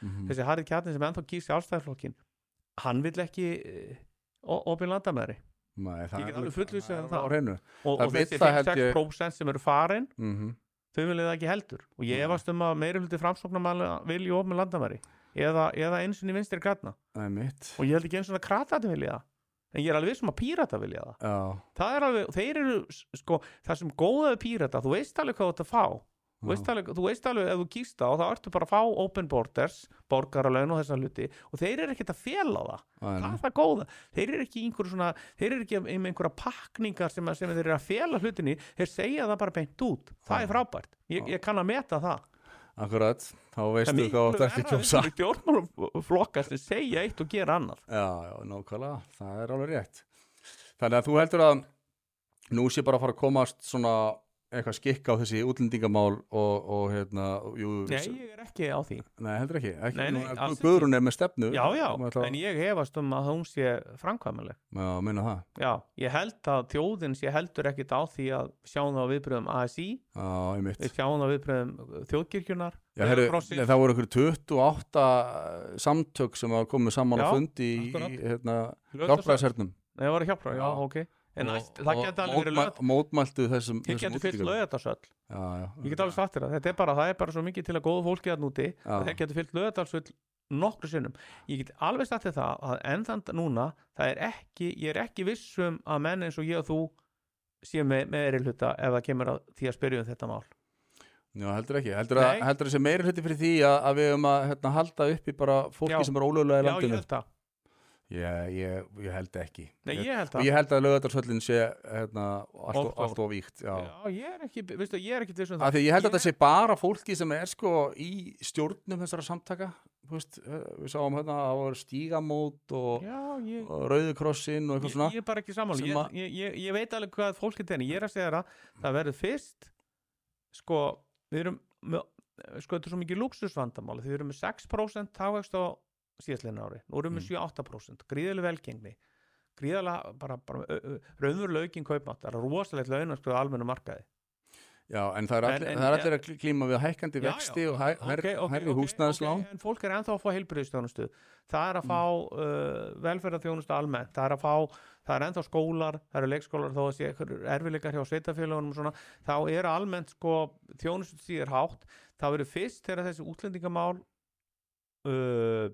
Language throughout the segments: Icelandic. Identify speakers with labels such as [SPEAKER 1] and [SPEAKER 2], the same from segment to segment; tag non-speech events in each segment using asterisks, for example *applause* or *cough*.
[SPEAKER 1] Mm.
[SPEAKER 2] þessi Harry Kjarni sem ennþá gísk allstæðarflokkin hann vill ekki eh, opinn landamæri
[SPEAKER 1] Nei,
[SPEAKER 2] Ég get alveg fullvissað um
[SPEAKER 1] það er
[SPEAKER 2] það.
[SPEAKER 1] á hreinu.
[SPEAKER 2] og,
[SPEAKER 1] Það
[SPEAKER 2] og
[SPEAKER 1] vill
[SPEAKER 2] þessi
[SPEAKER 1] það held ég-
[SPEAKER 2] 5-6% sem eru farin
[SPEAKER 1] Mhm.
[SPEAKER 2] þau viljið það ekki heldur og
[SPEAKER 1] Mm.
[SPEAKER 2] ég efast um að meiri hluti framsóknarmanna vilji opinn landamæri eða, eða eins og vinstri grætna
[SPEAKER 1] Það er mitt
[SPEAKER 2] og ég held ekki eins og að kratati vilja það en ég er alveg vissum að pírata vilja það
[SPEAKER 1] Já,
[SPEAKER 2] það er alveg, þeir eru s- sko, það sem góða við pírata, þú veist alveg hvað þú ert að fá þú veist,
[SPEAKER 1] Já.
[SPEAKER 2] alveg, þú veist alveg ef þú kýst á, þá ertu bara að fá open borders, borgaralaun og þessna hluti og þeir eru ekkert að fela það
[SPEAKER 1] það er
[SPEAKER 2] það er
[SPEAKER 1] mitt
[SPEAKER 2] það góða, þeir eru ekki í einhverju svona þeir eru ekki um einhverja pakningar sem, að- sem þeir eru að fela hlutinni, þeir segja það bara beint út, það
[SPEAKER 1] Já.
[SPEAKER 2] er frábært ég,
[SPEAKER 1] Já.
[SPEAKER 2] ég kann að meta það
[SPEAKER 1] Akkurat, þá
[SPEAKER 2] það
[SPEAKER 1] veistu
[SPEAKER 2] er
[SPEAKER 1] hvað
[SPEAKER 2] miklu
[SPEAKER 1] það er ekki
[SPEAKER 2] verra
[SPEAKER 1] kjósa
[SPEAKER 2] við stjórnmálaflokka sem segja eitt og gera annað
[SPEAKER 1] Já, já, nákvæmlega, það er alveg rétt Þannig að þú heldur að nú sé bara að fara að komast svona eitthvað skikka á þessi útlendingamál og, og hérna jú,
[SPEAKER 2] Nei,
[SPEAKER 1] s-
[SPEAKER 2] ég er ekki á því
[SPEAKER 1] nei, heldur ekki, ekki
[SPEAKER 2] Nei, nei,
[SPEAKER 1] nú,
[SPEAKER 2] alls ekki.
[SPEAKER 1] Guðrún er með stefnu
[SPEAKER 2] Já, já,
[SPEAKER 1] Hún ætlar-
[SPEAKER 2] en ég hefast um að hún sé framkvæmuleg
[SPEAKER 1] Já, minna það
[SPEAKER 2] Já, ég held að þjóðin sé heldur ekkit á því að sjáum það á viðbröðum ASI
[SPEAKER 1] Já, ég mitt
[SPEAKER 2] við sjáum það á viðbröðum þjóðkirkjunar
[SPEAKER 1] Já, heru,
[SPEAKER 2] Rauðakrossins.
[SPEAKER 1] nei, það voru ykkur 28 eh, samtök sem hafa komið saman
[SPEAKER 2] Já,
[SPEAKER 1] á fundi í,
[SPEAKER 2] akkurat.
[SPEAKER 1] í hérna,
[SPEAKER 2] Nei,
[SPEAKER 1] hjálpræðishernum
[SPEAKER 2] það var að hjálpa, já,
[SPEAKER 1] Já.
[SPEAKER 2] ok En æst, það geti alveg verið lögat
[SPEAKER 1] Mótmæltu þessum
[SPEAKER 2] Þið
[SPEAKER 1] þessum
[SPEAKER 2] getur fyllt
[SPEAKER 1] útlendingum.
[SPEAKER 2] lögatarsöll
[SPEAKER 1] Já, já
[SPEAKER 2] Ég get alveg sagt þér það, þetta er bara, það er bara svo mikið til að góða fólki að núti
[SPEAKER 1] Já.
[SPEAKER 2] Þeir getur fyllt lögatarsöll nokkru sinnum Ég get alveg sagt þér það að enn þann núna það er ekki, ég er ekki viss um að menn eins og ég og þú séu með, með eri hluta ef það kemur að því að spyrja um þetta mál
[SPEAKER 1] Já, heldur ekki, heldur að,
[SPEAKER 2] Nei.
[SPEAKER 1] heldur að sé meiri hluti fyrir því að, að við höfum að hérna, halda upp í bara fólki
[SPEAKER 2] Já.
[SPEAKER 1] sem er ólögulega
[SPEAKER 2] Já,
[SPEAKER 1] í
[SPEAKER 2] ég
[SPEAKER 1] landinu
[SPEAKER 2] held það
[SPEAKER 1] ég, ég, ég held ekki
[SPEAKER 2] Nei, ég held
[SPEAKER 1] Og
[SPEAKER 2] það
[SPEAKER 1] ég held að lögatarsvöllin sé hérna, allt,
[SPEAKER 2] Of
[SPEAKER 1] of,
[SPEAKER 2] stór.
[SPEAKER 1] allt of víkt Já,
[SPEAKER 2] Já, ég er ekki, veistu, ég er ekki um þessum
[SPEAKER 1] Af því ég held að
[SPEAKER 2] Ég-
[SPEAKER 1] þetta sé bara fólki sem er sko í stjórnum þessara samtaka Þú veist, eh, Við sáum hérna að það voru stígamót og,
[SPEAKER 2] Já, ég,
[SPEAKER 1] og rauðukrossin og eitthvað
[SPEAKER 2] ég,
[SPEAKER 1] svona
[SPEAKER 2] ég er bara ekki sammála
[SPEAKER 1] sem
[SPEAKER 2] ég,
[SPEAKER 1] að-
[SPEAKER 2] ég, ég, ég veit alveg hvað fólk er tenni Ég er að segja þér að það verður fyrst Sko, við erum með, Sko, þetta er svo mikið luxusvandamál Þið erum með 6% távegst á síðastlegin ári Nú
[SPEAKER 1] Mm.
[SPEAKER 2] erum við með 7-8% Gríðileg velgengni Gríðalega, bara, bara raunverulega aukinn kaupmátt Það er rosalegt launaskrið á almennu markaði
[SPEAKER 1] Já, en það er
[SPEAKER 2] En-
[SPEAKER 1] allir,
[SPEAKER 2] en-
[SPEAKER 1] það er allir að klíma við hækkandi
[SPEAKER 2] Já, já.
[SPEAKER 1] vexti og hæ, hær,
[SPEAKER 2] Ok, ok,
[SPEAKER 1] hærri
[SPEAKER 2] ok,
[SPEAKER 1] húsnæðislán
[SPEAKER 2] ok, en fólk er ennþá að fá heilbriðstjónustu það er að fá uh, velferðarþjónustu almennt, það er að fá það er ennþá skólar, það eru leikskólar þó að sé einhverjir erfileikar hjá sveitafélagunum og svona, þá er almennt sko þjónustu síður hátt, það verður fyrst þegar þessi útlendingamál uh,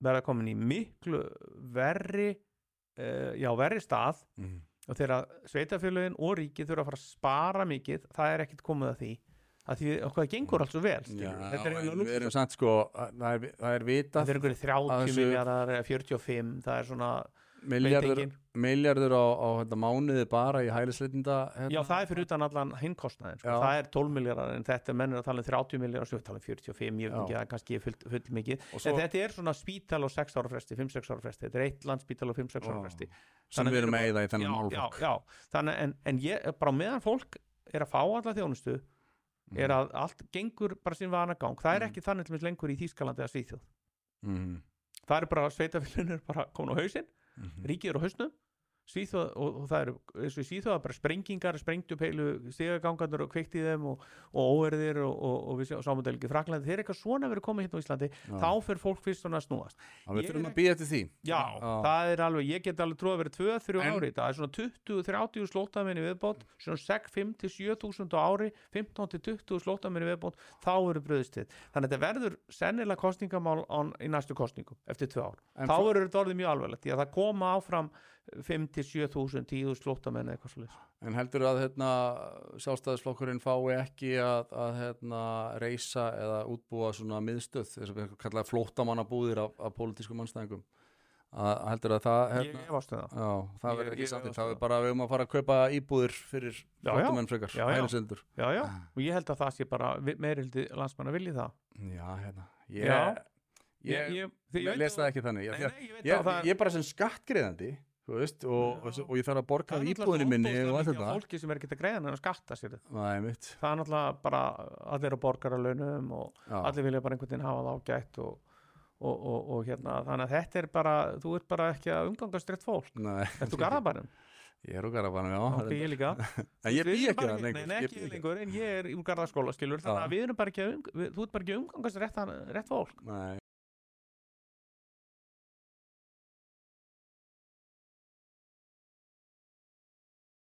[SPEAKER 2] verða komin í miklu verri uh, já, verri stað
[SPEAKER 1] Mhm.
[SPEAKER 2] og þegar sveitafélagin og ríkið þurfa að fara að spara mikið, það er ekkit komið að því að því okkur það gengur alls svo vel
[SPEAKER 1] Já,
[SPEAKER 2] skilurðu. þetta er
[SPEAKER 1] en
[SPEAKER 2] eiginlega
[SPEAKER 1] við erum samt sko að- það er, vi- það er
[SPEAKER 2] það
[SPEAKER 1] vitað
[SPEAKER 2] er einhverju
[SPEAKER 1] að
[SPEAKER 2] 30
[SPEAKER 1] þessu-
[SPEAKER 2] miljardar eða 45, það er svona
[SPEAKER 1] miljardur,
[SPEAKER 2] veit enginn.
[SPEAKER 1] miljardur á, á hérna, mánuði bara í hælisleitinda hérna.
[SPEAKER 2] já það er fyrir utan allan hinnkostnaðin sko.
[SPEAKER 1] Já.
[SPEAKER 2] það er 12 miljardar en þetta menn er að tala um 30 miljardar, svo er tala um 45 ég veit
[SPEAKER 1] Já.
[SPEAKER 2] ekki að kannski er full, full mikið
[SPEAKER 1] Og svo-
[SPEAKER 2] en þetta er svona spítal á 6 ára fresti 5-6 ára fresti, þetta er eitt land spítal á 5-6 ára
[SPEAKER 1] Já.
[SPEAKER 2] fresti
[SPEAKER 1] sem
[SPEAKER 2] Þannig
[SPEAKER 1] við erum
[SPEAKER 2] að-
[SPEAKER 1] með í það í
[SPEAKER 2] já,
[SPEAKER 1] þennan
[SPEAKER 2] já,
[SPEAKER 1] málflokk
[SPEAKER 2] já. þannig en, en ég, bara meðan fólk er að fá alla þjónustu er að allt gengur bara sín vanagang það er
[SPEAKER 1] Mm.
[SPEAKER 2] ekki þannig til mér lengur í Þýskalandi eða Svíþjóð
[SPEAKER 1] mm.
[SPEAKER 2] það er bara sveitafélunir bara komin á hausinn
[SPEAKER 1] Mhm.
[SPEAKER 2] ríkið er á hausnum Svíþjóð, og, og það eru, eins og í Svíþjóð það eru bara sprengingar, sprengt upp heilu stigagangarnir og kveikt í þeim og, og óerðir og, og, og við sáum þetta líka í Fraklandi þeir eitthvað svona verið komið hérna á Íslandi þá fer fólk fyrst svona að snúast
[SPEAKER 1] Já, við
[SPEAKER 2] ég
[SPEAKER 1] þurfum
[SPEAKER 2] er
[SPEAKER 1] að býja til því
[SPEAKER 2] já, það er alveg, ég get alveg trúið að vera 2-3
[SPEAKER 1] En-
[SPEAKER 2] ári, í dag. það er svona 20-30 slóttamenni viðbót, svona 6-5-7 þúsund á ári, 15-20 slóttamenni viðbót, þá verður bröðstið þannig að þetta verður sennilega kostningamál án, í næstu kostningum, eftir 2 ár
[SPEAKER 1] en,
[SPEAKER 2] þá
[SPEAKER 1] fó-
[SPEAKER 2] verður þetta orðið mjög alveglegt því að það koma áfram 5-7 þúsund, 10 slóttamenn eða eitthvað svolítið
[SPEAKER 1] en heldur að hérna, sjálfstæðisflokkurinn fái ekki að, að hérna, reysa eða útbúa svona miðstöð þess að við kallaði flóttamannabúðir af, af pólitískum mannstæðingum að að heldur að það hérna,
[SPEAKER 2] ég efast um það
[SPEAKER 1] já,
[SPEAKER 2] Ég-
[SPEAKER 1] það verður
[SPEAKER 2] ég-
[SPEAKER 1] ekki samtidig
[SPEAKER 2] ég-
[SPEAKER 1] það er bara að við erum að fara að kaupa íbúðir fyrir
[SPEAKER 2] Já, já.
[SPEAKER 1] flóttamenn frekar,
[SPEAKER 2] Já, já.
[SPEAKER 1] hælisendur
[SPEAKER 2] já, já. og ég held að það sé bara meirildi landsmanna vilji það
[SPEAKER 1] Já, hérna Ég,
[SPEAKER 2] Já.
[SPEAKER 1] ég, ég,
[SPEAKER 2] ég, því- ég veit
[SPEAKER 1] les
[SPEAKER 2] að-
[SPEAKER 1] það ekki
[SPEAKER 2] Nei,
[SPEAKER 1] þannig ég,
[SPEAKER 2] nei, ég veit
[SPEAKER 1] ég,
[SPEAKER 2] að það er-
[SPEAKER 1] ég bara sem skattgreðandi þú veist, og, og,
[SPEAKER 2] Já.
[SPEAKER 1] og ég þarf að borga
[SPEAKER 2] það er
[SPEAKER 1] af íbúðinu
[SPEAKER 2] náttúrulega
[SPEAKER 1] minni og
[SPEAKER 2] ofboðslega mikið af
[SPEAKER 1] allt þetta
[SPEAKER 2] fólki sem er ekki að greiða en að skatta sér þetta.
[SPEAKER 1] Það er mitt
[SPEAKER 2] það er náttúrulega bara allir á borgaralaunum og
[SPEAKER 1] Já,
[SPEAKER 2] allir vilja bara einhvern veginn hafa það ágætt og, og, og, og hérna þannig að þetta er bara, þú ert bara ekki að umgangast rétt fólk,
[SPEAKER 1] Nei,
[SPEAKER 2] ert þú garðabærum
[SPEAKER 1] ég er úr garðabænum, já
[SPEAKER 2] ok,
[SPEAKER 1] reyndar.
[SPEAKER 2] ég
[SPEAKER 1] *laughs*
[SPEAKER 2] líka
[SPEAKER 1] En ég
[SPEAKER 2] Við
[SPEAKER 1] bý
[SPEAKER 2] erum
[SPEAKER 1] ekki
[SPEAKER 2] bara
[SPEAKER 1] það
[SPEAKER 2] Nei,
[SPEAKER 1] lengur ég
[SPEAKER 2] nei, ekki
[SPEAKER 1] bý
[SPEAKER 2] ég lengur, en ég er úr garðaskóla skilur, þannig
[SPEAKER 1] Já.
[SPEAKER 2] að við erum bara ekki að um, við, þú ert bara ekki að umgangast rétt, hann- rétt fólk
[SPEAKER 1] Nei,